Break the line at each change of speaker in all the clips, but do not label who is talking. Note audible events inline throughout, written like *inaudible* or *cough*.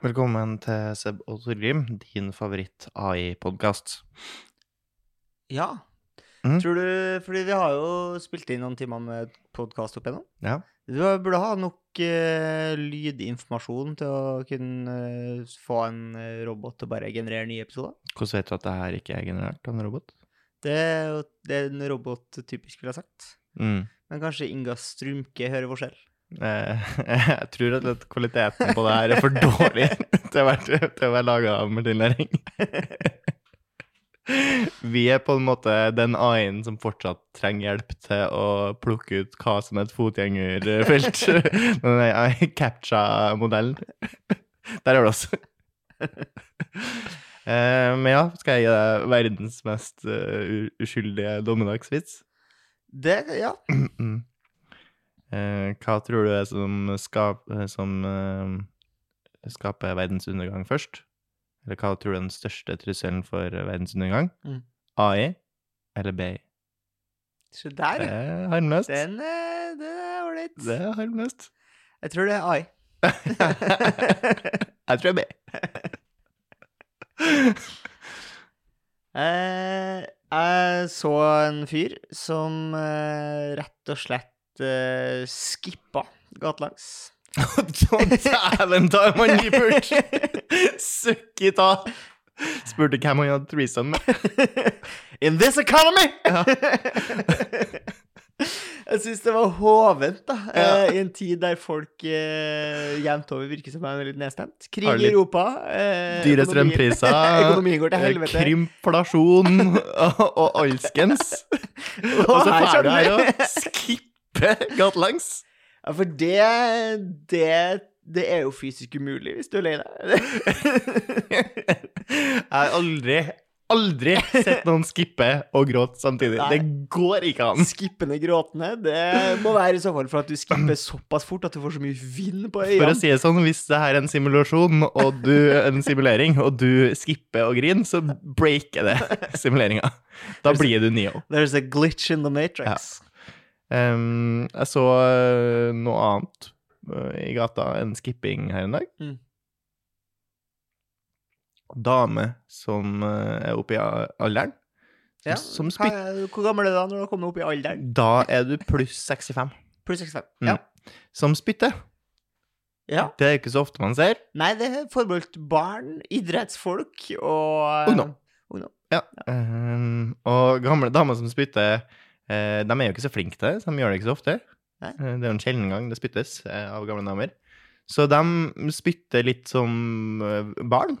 Velkommen til Seb og Torgrim, din favoritt-AI-podkast.
Ja.
Mhm.
Tror du Fordi vi har jo spilt inn noen timer med podkast opp igjennom.
Ja.
Du burde ha nok eh, lydinformasjon til å kunne eh, få en eh, robot til å bare generere nye episoder.
Hvordan vet du at det her ikke er generert av en robot?
Det er jo det en robot typisk ville ha sagt.
Mm.
Men kanskje Inga Strumke hører forskjell.
Eh, *laughs* jeg tror rett og slett kvaliteten på det her er for dårlig *laughs* til å være, til å være laga av Martin Lering. *laughs* Vi er på en måte den AI-en som fortsatt trenger hjelp til å plukke ut hva som er et fotgjengerfelt. *laughs* Den AI-captcha-modellen. *laughs* Der er det også. *laughs* Eh, men ja, skal jeg gi deg verdens mest eh, u- uskyldige dommedagsvits?
Det, ja.
Mm. Eh, hva tror du er som, skap, eh, som eh, skaper verdens undergang først? Eller hva tror du er den største trusselen for eh, verdens undergang?
Mm.
AI eller BI?
Så
Det
der, ja.
er harmløst.
Den, eh, den er ålreit.
Det er harmløst.
Jeg tror det er AI.
*laughs* jeg tror det er BI.
Eh, jeg så en fyr som eh, rett og slett eh, skippa gatelangs.
Dæven ta man gir pult! Søkk i ta! Spurte hvem han hadde threesome med.
*laughs* In this economy! *laughs* jeg syns det var hovent, da. eh, I en tid der folk eh, jevnt over virker som er litt nedstemt. Krig
Har
i
litt
Europa. Eh,
Dyre *laughs*
økonomien-
strømpriser.
Økonomien går til
Eh,
helvete. *laughs*
Krymplasjon og, og alskens.
Og
Og så
her
får du
kommer
her
det.
og skippe gatelangs.
Ja, for det, det Det er jo fysisk umulig hvis du er lei *laughs* deg.
Jeg har aldri, aldri sett noen skippe og gråte samtidig.
Nei.
Det går ikke an.
Skippende gråtende, det må være i så fall for at du skipper såpass fort at du får så mye vind på
For
øynene.
å si det sånn, hvis det her er en simulasjon, og du, en simulering, og du skipper og griner, så breaker det
*laughs*
simuleringa. Da blir du Neo.
There's a glitch in the matrix.
Ehm, jeg så eh, noe annet eh, i gata enn skipping her en dag.
Mm.
Dame som eh, er oppe i a- alderen. Som,
Ja,
som
hva-
spytt.
Hvor gammel er du da når du har kommet opp i alderen?
Da er du pluss 65.
Pluss 65.
Mm.
Ja.
Som spytter.
ja.
Det er ikke så ofte man ser.
Nei, det er forbeholdt barn, idrettsfolk og eh,
Ungdom. Ehm, og gamle damer som spytter, eh, de er jo ikke så flinke til det, så de gjør det ikke så ofte.
Nei.
Eh, det er jo en sjelden gang det spyttes eh, av gamle damer. Så de spytter litt som eh, barn.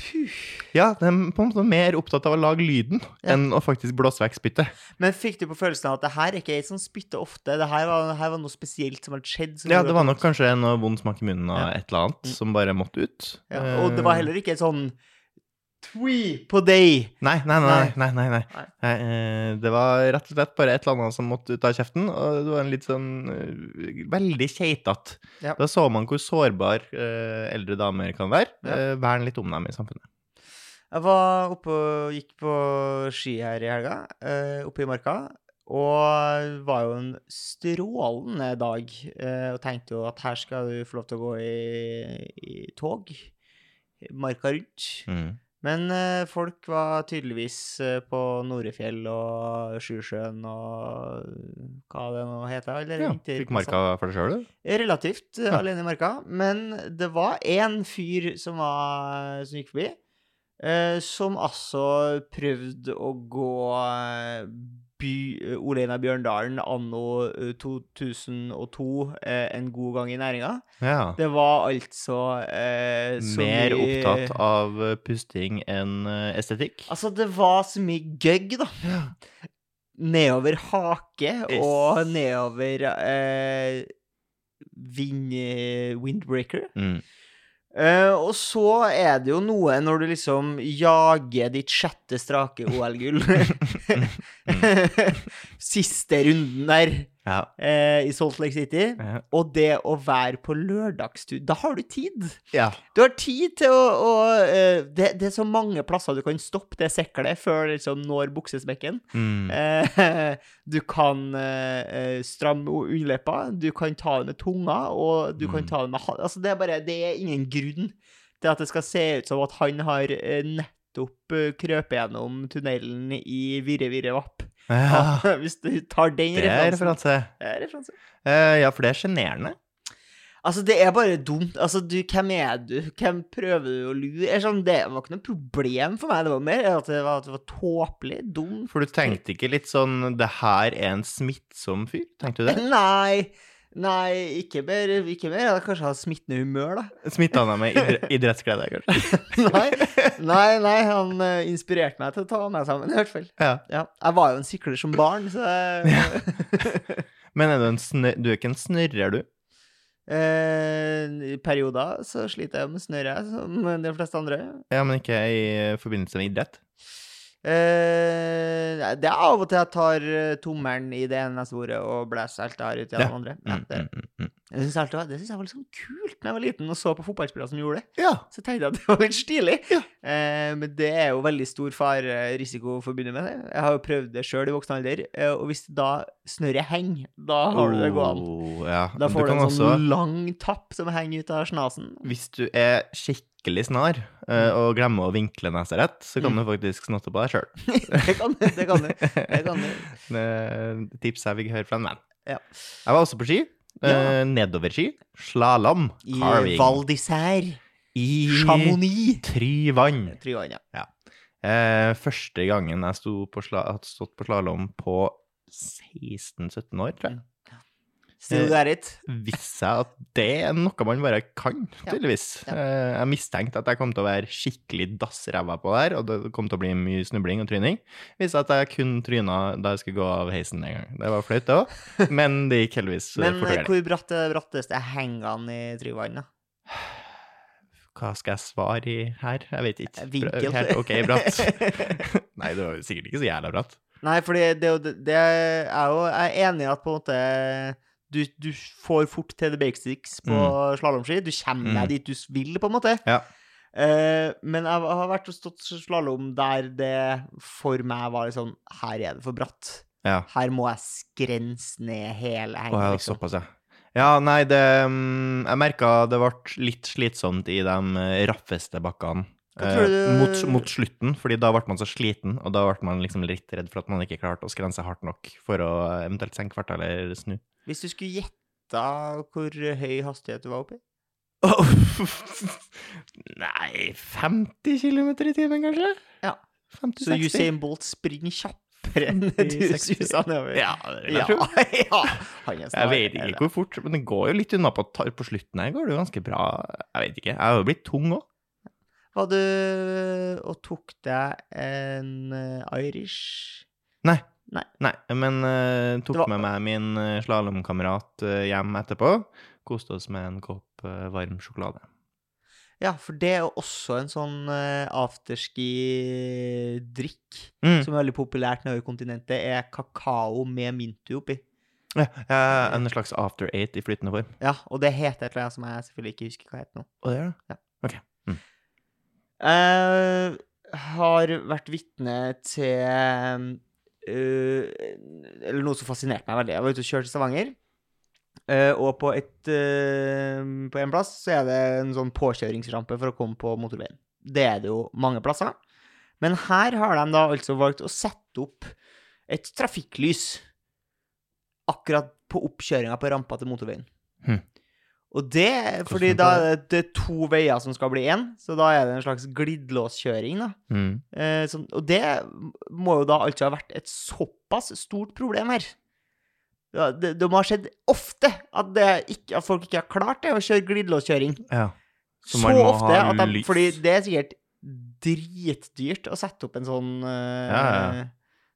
Puh.
Ja, de er på en måte mer opptatt av å lage lyden
Ja.
enn å faktisk blåse vekk spyttet.
Men fikk du på følelsen av at det her er ikke ei som spytter ofte? Det her var, her var noe spesielt som hadde skjedd? som
Ja,
gjorde
det
at-
var nok kanskje noe vond smak i munnen av
Ja.
et eller annet
Mm.
som bare måtte ut.
Ja, og det var
Eh,
heller ikke en sånn twee på deg.
Nei, nei, nei.
Nei.
nei, nei, nei.
Nei.
Nei, eh, det var rett og slett bare et eller annet som måtte ut av kjeften, og det var en litt sånn eh, veldig keitete.
Ja.
Da så man hvor sårbar eh, eldre damer kan være.
Ja.
Eh, Vern litt om dem i samfunnet.
Jeg var oppe og gikk på ski her i helga, eh, oppe i marka. Og var jo en strålende dag, eh, og tenkte jo at her skal du få lov til å gå i, i tog. Marka rundt.
Mm.
Men eh, folk var tydeligvis eh, på Norefjell og Sjusjøen og hva det sånn- nå heter. Eller
Ja,
vinter-
fikk marka for deg sjøl, du?
Relativt eh,
Ja.
alene i marka. Men det var én fyr som, var, som gikk forbi, eh, som altså prøvde å gå eh, by, eh, Ole Einar Bjørndalen anno eh, 2002 eh, en god gang i næringa.
Ja.
Det var altså eh, så
Mer
mye-
opptatt av eh, pusting enn eh, estetikk.
Altså, det var så mye gøgg, da. Nedover hake
Yes.
og nedover eh, vind, eh, windbreaker.
Mm.
Eh, og så er det jo noe når du liksom jager ditt sjette strake OL-gull. Siste runden der
Ja.
eh, i Salt Lake City.
Ja.
Og det å være på lørdagstur Da har du tid!
ja.
Du har tid til å, å eh, det, det er så mange plasser du kan stoppe det seklet før det liksom når buksesmekken.
Mm.
Eh, *laughs* du kan eh, eh, stramme o- underleppa, du kan ta det med tunga, og du kan
Mm.
ta det med ha- Altså, det er bare Det er ingen grunn Det at det skal se ut som at han har eh, nettopp eh, krøpet gjennom tunnelen i Virre Virre Vapp.
Ja,
*laughs* Hvis du tar den
det er
referansen.
referanse.
Det er referanse.
Eh, ja, for det er sjenerende.
Altså, det er bare dumt. Altså, du, hvem er du? Hvem prøver du å lure? Eller sånn, det var ikke noe problem for meg. Det var mer at det var, at det var tåpelig, dumt.
For du tenkte ikke litt sånn Det her er en smittsom fyr? Tenkte du det?
*laughs* Nei, nei, ikke mer. Ikke mer. Jeg hadde kanskje hatt smittende humør, da. *laughs*
Smitta han deg med idre- idrettsglede, kanskje?
Nei, nei, nei han eh, inspirerte meg til å ta meg sammen, i hvert fall.
Ja.
Ja. Jeg var jo en sykler som barn,
*laughs*
så jeg,
Men er du, en snø, du er ikke en snørrer, du?
eh, I perioder så sliter jeg med snørre, som de fleste andre.
Ja, men ikke i forbindelse med idrett?
Eh, det er av og til jeg tar eh, tommelen i det ene ordet og blæser alt jeg har ut i det
Ja.
andre. Ja,
Mm,
det
mm, mm, mm.
det syns jeg, alltid var- det synes jeg var litt sånn kult da jeg var liten og så på fotballspillere som gjorde det.
Ja.
Så tenkte jeg at det var litt stilig. Eh, men det er jo veldig stor farerisiko forbundet med det. Jeg har jo prøvd det sjøl i voksen alder, eh, og hvis da snøret henger, da har du det gående.
Oh, ja.
Da får du
kan
en sånn
også-
lang tapp som henger ut av snasen. *laughs*
Hvis du er skikkelig snar eh, og glemmer å vinkle nesa rett, så kan
Mm.
du faktisk snotte på deg sjøl.
det kan du, det kan du. Det kan du.
Det er et tips jeg fikk høre fra en venn.
Ja.
Jeg var også på ski.
Ja.
Eh, Nedoverski. Slalåm.
I Val d'Isère,
I
Chamonix
Tryvann.
Tryvann, ja.
Eh, første gangen jeg sto på sla hadde stått på slalåm på 16-17 år, tror jeg, Eh,
Still got it.
viste seg at det er noe man bare kan,
Ja.
tydeligvis.
Ja.
Eh, jeg mistenkte at jeg kom til å være skikkelig dassræva på det her, og det kom til å bli mye snubling og tryning. Viste seg at jeg kun tryna da jeg skulle gå av heisen en gang. Det var flaut, det òg, men det gikk heldigvis eh,
Men eh,
fortere.
hvor bratt er det bratteste hengene i Tryvann, da?
Hva skal jeg svare i her? Jeg vet ikke.
Vinkel.
Helt ok,
*laughs*
bratt. Nei, det var jo sikkert ikke så jævla bratt.
Nei, fordi det, er jo- det, det er jo Jeg er enig i at på en måte du, du får fort til the basics på
Mm.
slalåmski. Du kommer
Mm.
deg dit du s- vil, på en måte.
Ja.
Eh, men jeg har vært og stått slalåm der det for meg var litt sånn Her er det for bratt.
Ja.
Her må jeg skrense ned hele
Å
hengen.
ja,
liksom.
såpass, ja. Ja, nei, det mm, Jeg merka det ble litt slitsomt i de eh, raffeste bakkene. eh,
Hva tror du-
mot, mot slutten, fordi da ble man så sliten, og da ble man liksom litt redd for at man ikke klarte å skrense hardt nok for å eh, eventuelt senke farta eller snu.
*laughs* Hvis du skulle gjette hvor høy hastighet du var oppe i?
Nei 50 km i timen, kanskje?
Ja. Så
50-60?
Usain Bolt springer kjappere enn du
60.
suser nedover?
Ja, det vil jeg
ja.
tro.
*laughs* ja. Han er snar.
Jeg vet ikke hvor fort, men det går jo litt unna på, tar- på slutten her. Går det jo ganske bra. Jeg vet ikke. Jeg har jo blitt tung òg.
Var du og tok deg en eh, Irish?
Nei, men eh, tok
Det var-
med meg min eh, slalåmkamerat eh, hjem etterpå. Koste oss med en kopp eh, varm sjokolade.
Ja, for det er jo også en sånn eh, afterski-drikk
Mm.
som er veldig populært nedover kontinentet, er kakao med mintu oppi.
Ja, eh, en slags after eight i flytende form.
Ja, og det heter et eller annet som jeg selvfølgelig ikke husker hva heter nå.
Og det er det.
Eh, har vært vitne til um, eh, Eller noe som fascinerte meg veldig. Jeg var ute og kjørte i Stavanger. eh, og på, et, eh, på en plass så er det en sånn påkjøringsrampe for å komme på motorveien. Det er det jo mange plasser. Men her har de da altså valgt å sette opp et trafikklys akkurat på oppkjøringa på rampa til motorveien.
Hm.
Og det fordi
funker
da er det- det er to veier som skal bli én, så da er det en slags glidelåskjøring, da.
Mm.
Eh, som, og det må jo da altså ha vært et såpass stort problem her. Ja, det, det må ha skjedd ofte at, det ikke, at folk ikke har klart det å kjøre glidelåskjøring.
Ja. Så
Så,
man må
ofte
ha
at de
lys.
Fordi det er sikkert dritdyrt å sette opp en sånn eh,
Ja, ja.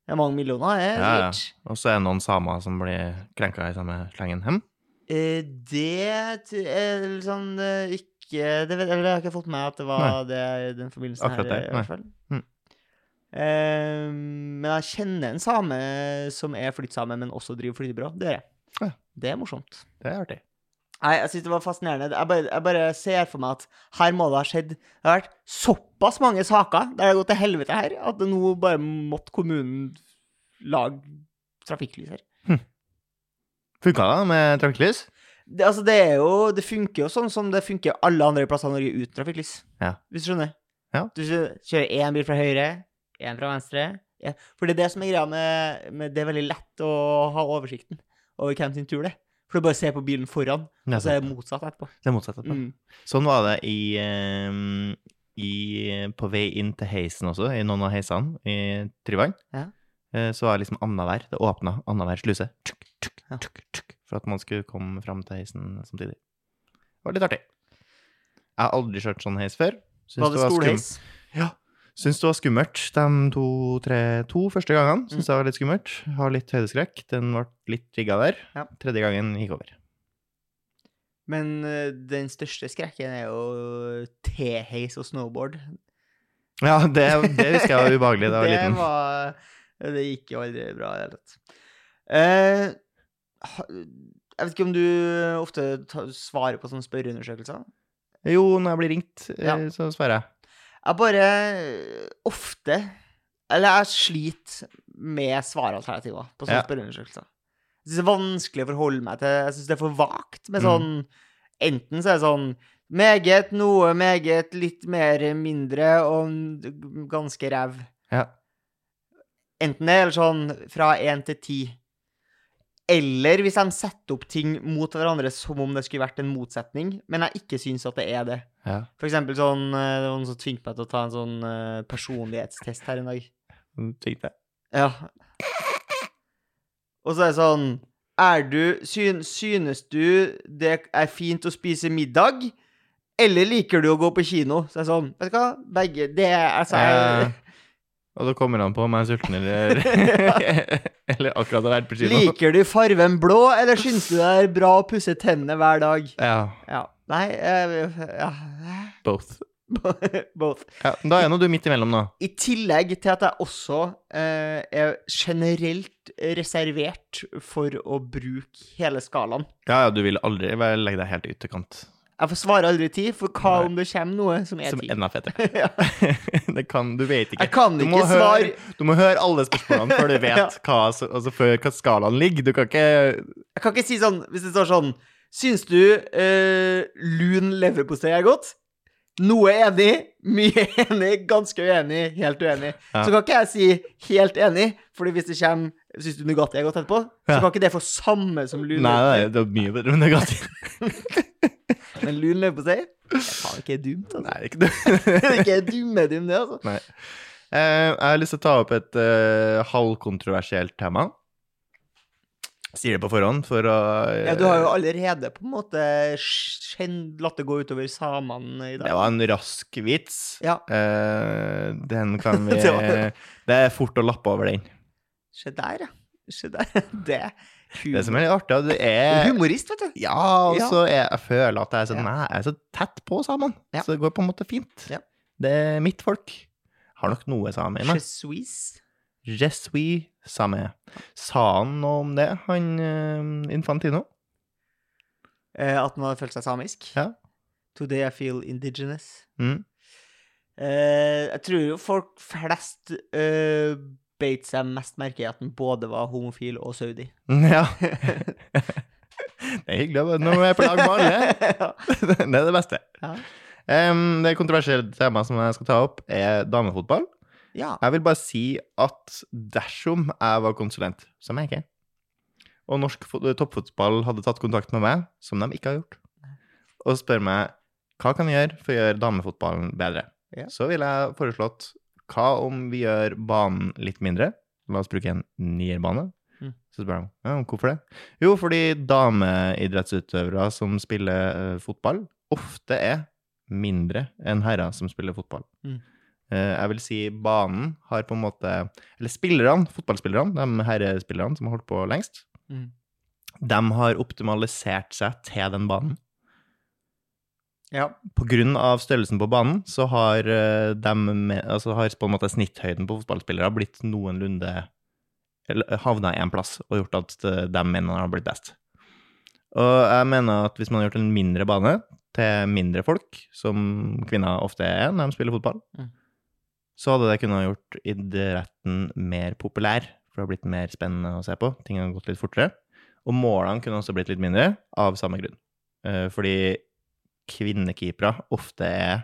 Det er mange millioner, det er
Ja, ja.
dyrt.
Og så er det noen samer som blir krenka i samme slengen. Hm?
Eh, det t- er litt sånn eh, ikke Det, vet, eller, jeg har ikke fått med meg at det var det i den forbindelsen
Akkurat
her.
det,
i
nei.
hvert fall.
Mm.
Eh, men jeg kjenner en same som er flyttsame, men også driver flyttebyrå. Det gjør jeg.
Ja.
Det er morsomt.
Det er artig.
Nei, jeg synes det var fascinerende. Jeg bare, jeg bare ser for meg at her må det ha skjedd Det har vært såpass mange saker der det har gått til helvete her, at nå bare måtte kommunen lage trafikklys her.
Funka det med trafikklys?
det, altså, det er jo Det funker jo sånn som det funker alle andre plasser i Norge uten trafikklys.
Ja.
Hvis du skjønner.
Ja.
Du kjø- kjører én bil fra høyre, én fra venstre. En. For det er det som er greia med, med Det er veldig lett å ha oversikten over hvem sin tur det er. For du bare ser på bilen foran,
Altså,
og så er det motsatt etterpå.
Det er motsatt. etterpå.
Mm.
Sånn var det i, ehm, i På vei inn til heisen også, i noen av heisene i Tryvann.
Ja.
Eh, Så var det liksom annenhver. Det åpna annenhver sluse. Tjukk, tjukk,
Ja.
tjukk, tjukk, For at man skulle komme fram til heisen samtidig. Det var litt artig. Jeg har aldri kjørt sånn heis før. Syns
Var det skoleheis?
Ja. Syns det var skummelt de to, tre, to første
Mm.
gangene. Syns det var litt skummelt. Har litt høydeskrekk. Den ble litt rigga der.
Ja.
Tredje gangen gikk over.
Men eh, den største skrekken er jo teheis og snowboard.
Ja, det, det husker jeg var ubehagelig da jeg var
*laughs* det
liten.
var- det gikk jo aldri bra i det hele tatt. Eh, ha- jeg vet ikke om du ofte ta, svarer på sånne spørreundersøkelser?
Jo, når jeg blir ringt, eh,
Ja.
så svarer jeg.
Jeg bare eh, ofte Eller jeg sliter med svaralternativer på
Ja.
sånne spørreundersøkelser. Jeg syns det er vanskelig å forholde meg til Jeg syns det er for vagt
Mm.
med sånn Enten så er det sånn meget, noe meget, litt mer, mindre og ganske ræv.
Ja.
Enten det, eller sånn fra én til ti. Eller hvis de setter opp ting mot hverandre som om det skulle vært en motsetning, men jeg ikke syns at det er det.
ja.
For eksempel sånn eh, Det var noen som tvingte meg til å ta en sånn eh, personlighetstest her en dag.
Tenkte jeg.
Ja. Og så er det sånn Er du syn, Synes du det er fint å spise middag? Eller liker du å gå på kino? Så er det sånn Vet du hva? Begge Det er altså jeg,
Eh, Og da kommer han på om jeg er sulten eller *laughs* Eller akkurat har vært på kino.
Liker du farven blå, eller syns du det er bra å pusse tennene hver dag?
Ja,
Ja. Nei eh, ja. *laughs*
both.
Both.
Ja, da er nå du midt imellom, da.
I tillegg til at jeg også eh, er generelt reservert for å bruke hele skalaen.
Ja, ja, du vil aldri være- legge deg helt i ytterkant.
Jeg får svare aldri ti, for hva
Nei.
om det kommer noe som er
Som
ti?
enda fetere. *laughs*
Ja.
Det kan Du vet ikke.
Jeg kan
Du må,
ikke
høre,
svare
du må høre alle spørsmålene *laughs* før du vet
Ja.
hva, altså før hva skalaen ligger. Du kan ikke
Jeg kan ikke si sånn, hvis det står sånn Syns du eh, lun leverpostei er godt? Noe enig, mye *laughs* enig, ganske uenig, helt uenig.
Ja.
Så kan ikke jeg si helt enig, Fordi hvis det kommer Syns du Nugatti er godt etterpå? Så
Ja.
kan ikke det få samme som
Nei,
lun
nei,
leverpostei.
det er mye bedre, men det er godt. *laughs*
Men lun leverpostei Det er faen ikke dumt,
*laughs*
altså.
Nei, ikke det.
Det er ikke dumme-dum, det, altså.
Nei. Eh, jeg har lyst til å ta opp et eh, halvkontroversielt tema. Sier det på forhånd for å eh,
Ja, du har jo allerede på en måte skjenn- latt det gå utover samene i
Det
dag.
var en rask vits.
Ja.
Eh, den
*laughs*
kan vi
Det var-
Det er fort å lappe over den.
Se der, ja. Se der. *laughs* Det er
Det som er
humor.
litt artig, og det er
Humorist, vet du.
Ja, og
Ja.
så er, jeg føler at jeg er, sånn,
Ja.
nei, jeg er så tett på samene.
Ja.
Så det går på en måte fint.
Ja.
Det er mitt folk. Har nok noe same i
Je
meg.
suis.
Je suis same. Sa han noe om det, han eh, Infantino?
Eh, at man har følt seg samisk.
Ja.
Today I feel indigenous.
Mm.
Eh, jeg tror jo folk flest eh, beit seg mest merke i at han både var homofil og
*laughs*
saudi.
Mm, Ja. det er hyggelig. å- Nå er jeg på lag med
*laughs*
alle. Det er det beste.
Ja.
Em, det kontroversielle temaet som jeg skal ta opp, er damefotball.
ja.
Jeg vil bare si at dersom jeg var konsulent, som jeg ikke er, og norsk fo- eh, toppfotball hadde tatt kontakt med meg, som de ikke har gjort, og spør meg hva kan vi gjøre for å gjøre damefotballen bedre,
Ja.
så ville jeg foreslått hva om vi gjør banen litt mindre? La oss bruke en niertbane.
Mm.
Så spør de ja, men hvorfor det. Jo, fordi dameidrettsutøvere som spiller eh, fotball, ofte er mindre enn herrer som spiller fotball.
Mm.
Eh, jeg vil si banen har på en måte Eller spillerne, fotballspillerne, de herrespillerne som har holdt på lengst,
Mm.
de har optimalisert seg til den banen.
ja.
På grunn av størrelsen på banen, så har, eh, dem med, altså har på en måte snitthøyden på fotballspillere blitt noenlunde eller havna i en plass, og gjort at eh, de mener har blitt best. Og jeg mener at hvis man har gjort en mindre bane til mindre folk, som kvinner ofte er når de spiller fotball,
Mm.
så hadde det kunnet ha gjort idretten mer populær, for det har blitt mer spennende å se på. Ting har gått litt fortere. Og målene kunne også blitt litt mindre, av samme grunn. Eh, Fordi kvinnekeepere ofte er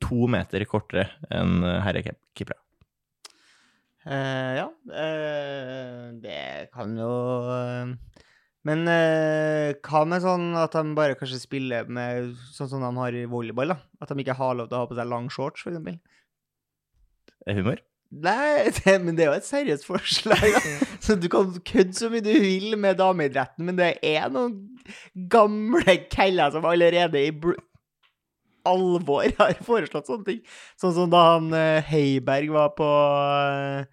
to meter kortere enn eh, herrekeepere.
Eh, ja, eh, det kan jo eh, Men eh, hva med sånn at de bare kanskje spiller med sånn som de har i volleyball? da? At de ikke har lov til å ha på seg lang shorts, for eksempel?
Det er humor.
Nei, det, men det er jo et seriøst forslag, da. Så du kan kødde så mye du vil med dameidretten, men det er noen gamle keller som allerede i bl alvor har foreslått sånne ting. Sånn som da han eh, Heiberg var på eh,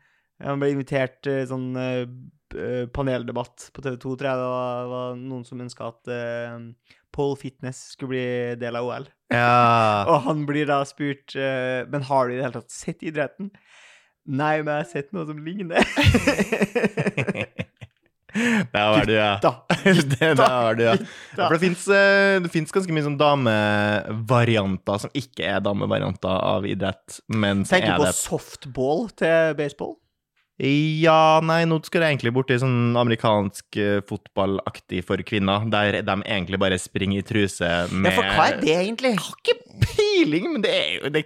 Han ble invitert til sånn eh, b- eh, paneldebatt på TV 2, tror jeg. Det var, var noen som ønska at eh, Pole Fitness skulle bli del av OL. *laughs*
Ja.
Og han blir da spurt eh, Men har du i det hele tatt sett idretten? Nei, men jeg har sett noe som *laughs* ligner.
*laughs* Der var du, ja.
da.
*laughs* Det, der var du, ja. Ja,
Da.
for det fins, eh, det fins ganske mye sånn damevarianter som ikke er damevarianter av idrett, men som
Tenker
er
du på
det.
softball til baseball?
Ja, nei, nå skal jeg egentlig borti sånn amerikansk eh, fotballaktig for kvinner, der de egentlig bare springer i truse med
Ja, for hva er det egentlig?
Jeg har ikke peiling, men det er jo det,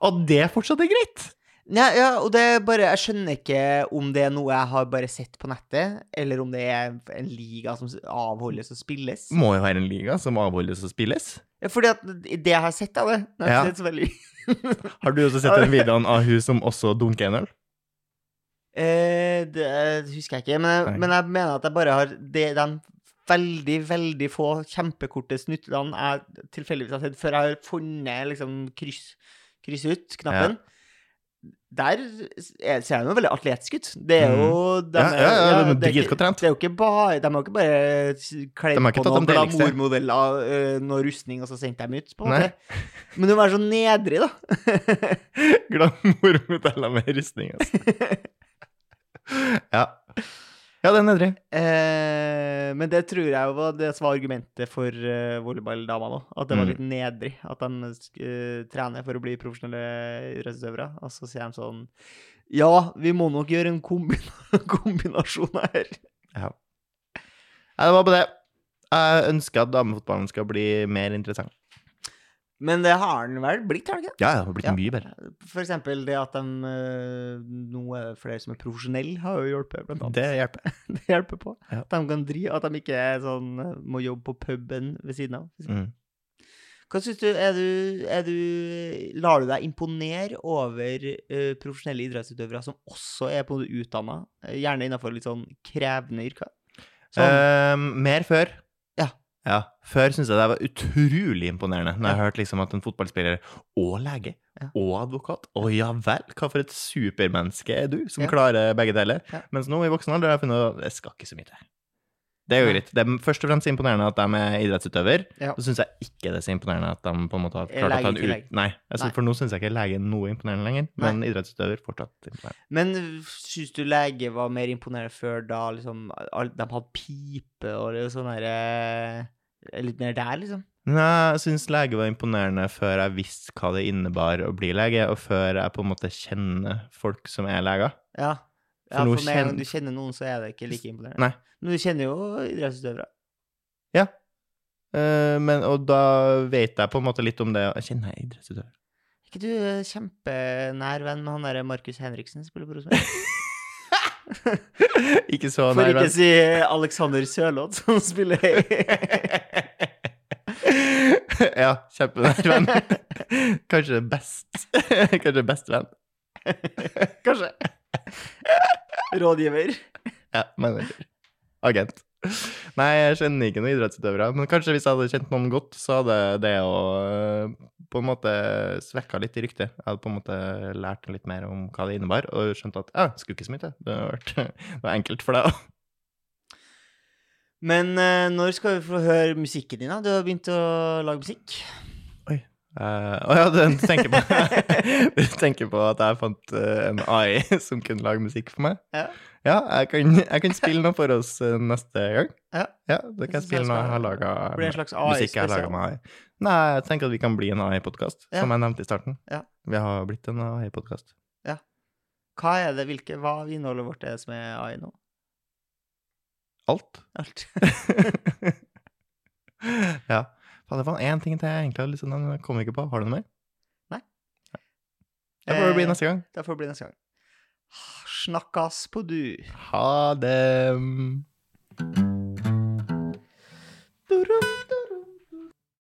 At det fortsatt er greit!
Ja, ja, og det er bare Jeg skjønner ikke om det er noe jeg har bare sett på nettet, eller om det er en liga som avholdes og spilles.
Må jo være en liga som avholdes og spilles.
Ja, fordi at det jeg har sett av det Nå har jeg
Ja.
ikke sett så veldig
Har du også sett *laughs* den videoen av hun som også dunker en øl?
Eh, det eh, husker jeg ikke, men, jeg-
Nei.
men jeg mener at jeg bare har det, de veldig, veldig få kjempekorte snuttene jeg tilfeldigvis har sett før jeg har funnet liksom kryss, kryss ut-knappen. Der s- er- ser jeg noe veldig atletisk ut. Det er jo de
Mm. Ja,
er-
ja, ja, de er
det er ikke-
dritgodt trent.
Det er jo ikke bare De har ikke bare s- kledd
De har
på
ikke tatt
noen
de deligste.
glamourmodeller eh, noe rustning, og så sendt dem ut, på en
Nei.
måte. Men du må være så nedrig, da.
Glamourmodeller med rustning, altså. ja. Ja, den er drøy.
Eh, men det tror jeg jo var det som var argumentet for uh, volleyballdamene òg. At det var
Mm.
litt nedrig. At de eh, trener for å bli profesjonelle idrettsutøvere. Og så sier de sånn Ja, vi må nok gjøre en kombina *laughs* kombinasjon her.
Ja, det var på det. Jeg ønsker at damefotballen skal bli mer interessant.
Men det har den vel blitt, har det ikke?
Ja, det har blitt
Ja.
mye bedre.
For eksempel det at de eh, Nå er det flere som er profesjonelle, har jo hjulpet, blant annet.
Det hjelper.
*laughs* Det hjelper på.
Ja.
At de kan drive, at de ikke er sånn eh, må jobbe på puben ved siden av.
Mm.
Hva syns du er, du er du Lar du deg imponere over eh, profesjonelle idrettsutøvere som også er på en måte utdanna, eh, gjerne innenfor litt sånn krevende yrker? Sånn,
Ehm, mer før.
Ja.
Før syntes jeg det var utrolig imponerende når jeg hørte liksom at en fotballspiller og lege
Ja.
og advokat Å ja vel, hva for et supermenneske er du som
Ja.
klarer begge deler?
Ja.
Mens nå i voksen alder har jeg funnet at det skal ikke så mye til. Det er jo
Nei.
greit. Det er først og fremst imponerende at de er idrettsutøver.
Ja.
Så syns jeg ikke det er så imponerende at de på en måte har
Er
klart å ta
lege i
en
tillegg.
ut... Nei, jeg
Nei.
synes, for nå syns jeg ikke lege er noe imponerende lenger,
Nei.
men idrettsutøver fortsatt imponerende.
men syns du lege var mer imponerende før da liksom all- de hadde pipe og det sånn derre Litt mer der, liksom?
Nei, jeg syns lege var imponerende før jeg visste hva det innebar å bli lege, og før jeg på en måte kjenner folk som er leger.
Ja.
For
ja
nå
for med en
kjenn-
gang du kjenner noen, så er det ikke like imponerende.
Nei.
Men du kjenner jo idrettsutøvere.
Eh, men, og da vet jeg på en måte litt om det. Jeg kjenner jeg idrettsutøver. *laughs*
Er ikke du eh, kjempenær venn med han derre Markus Henriksen som spiller på Rosenborg?
ikke så
For ikke
nærmere.
å si Alexander Sørloth, som spiller
*laughs* ja, kjempenær venn. *laughs* Kanskje best. *laughs* Kanskje best venn. *laughs*
Kanskje. Rådgiver.
*laughs* Ja, manager. Agent. Nei, jeg kjenner ikke noen idrettsutøvere. Men kanskje hvis jeg hadde kjent noen godt, så hadde det å øh, på en måte svekka litt i ryktet. Jeg hadde på en måte lært litt mer om hva det innebar, og skjønt at ja, det skulle ikke så mye til. Det har vært- *laughs* det var enkelt for deg òg.
Men eh, når skal vi få høre musikken din, da? Du har begynt å lage musikk.
Å Eh, ja, du tenker, på, *laughs* du tenker på at jeg fant eh, en AI *laughs* som kunne lage musikk for meg?
Ja.
Ja, jeg kan, jeg kan spille noe for oss eh, neste gang.
Ja.
ja da kan jeg
synes jeg
spille noe jeg har
skal-
laga.
Det blir en slags
musikk jeg lager
AI-spesial.
med AI. Nei, jeg tenker at vi kan bli en AI-podkast,
Ja.
som jeg nevnte i starten.
Ja.
Vi har blitt en AI-podkast.
Hva er det, hvilke, hva av innholdet vårt er det som er AI nå? *laughs*
Alt.
Alt.
ja. Faen, det var én ting til jeg egentlig hadde lyst til å nevne, men jeg kom ikke på. Har du noe mer?
Nei.
Det får det
Eh,
bli neste gang.
Det får bli neste gang. Snakkas på du.
Ha det.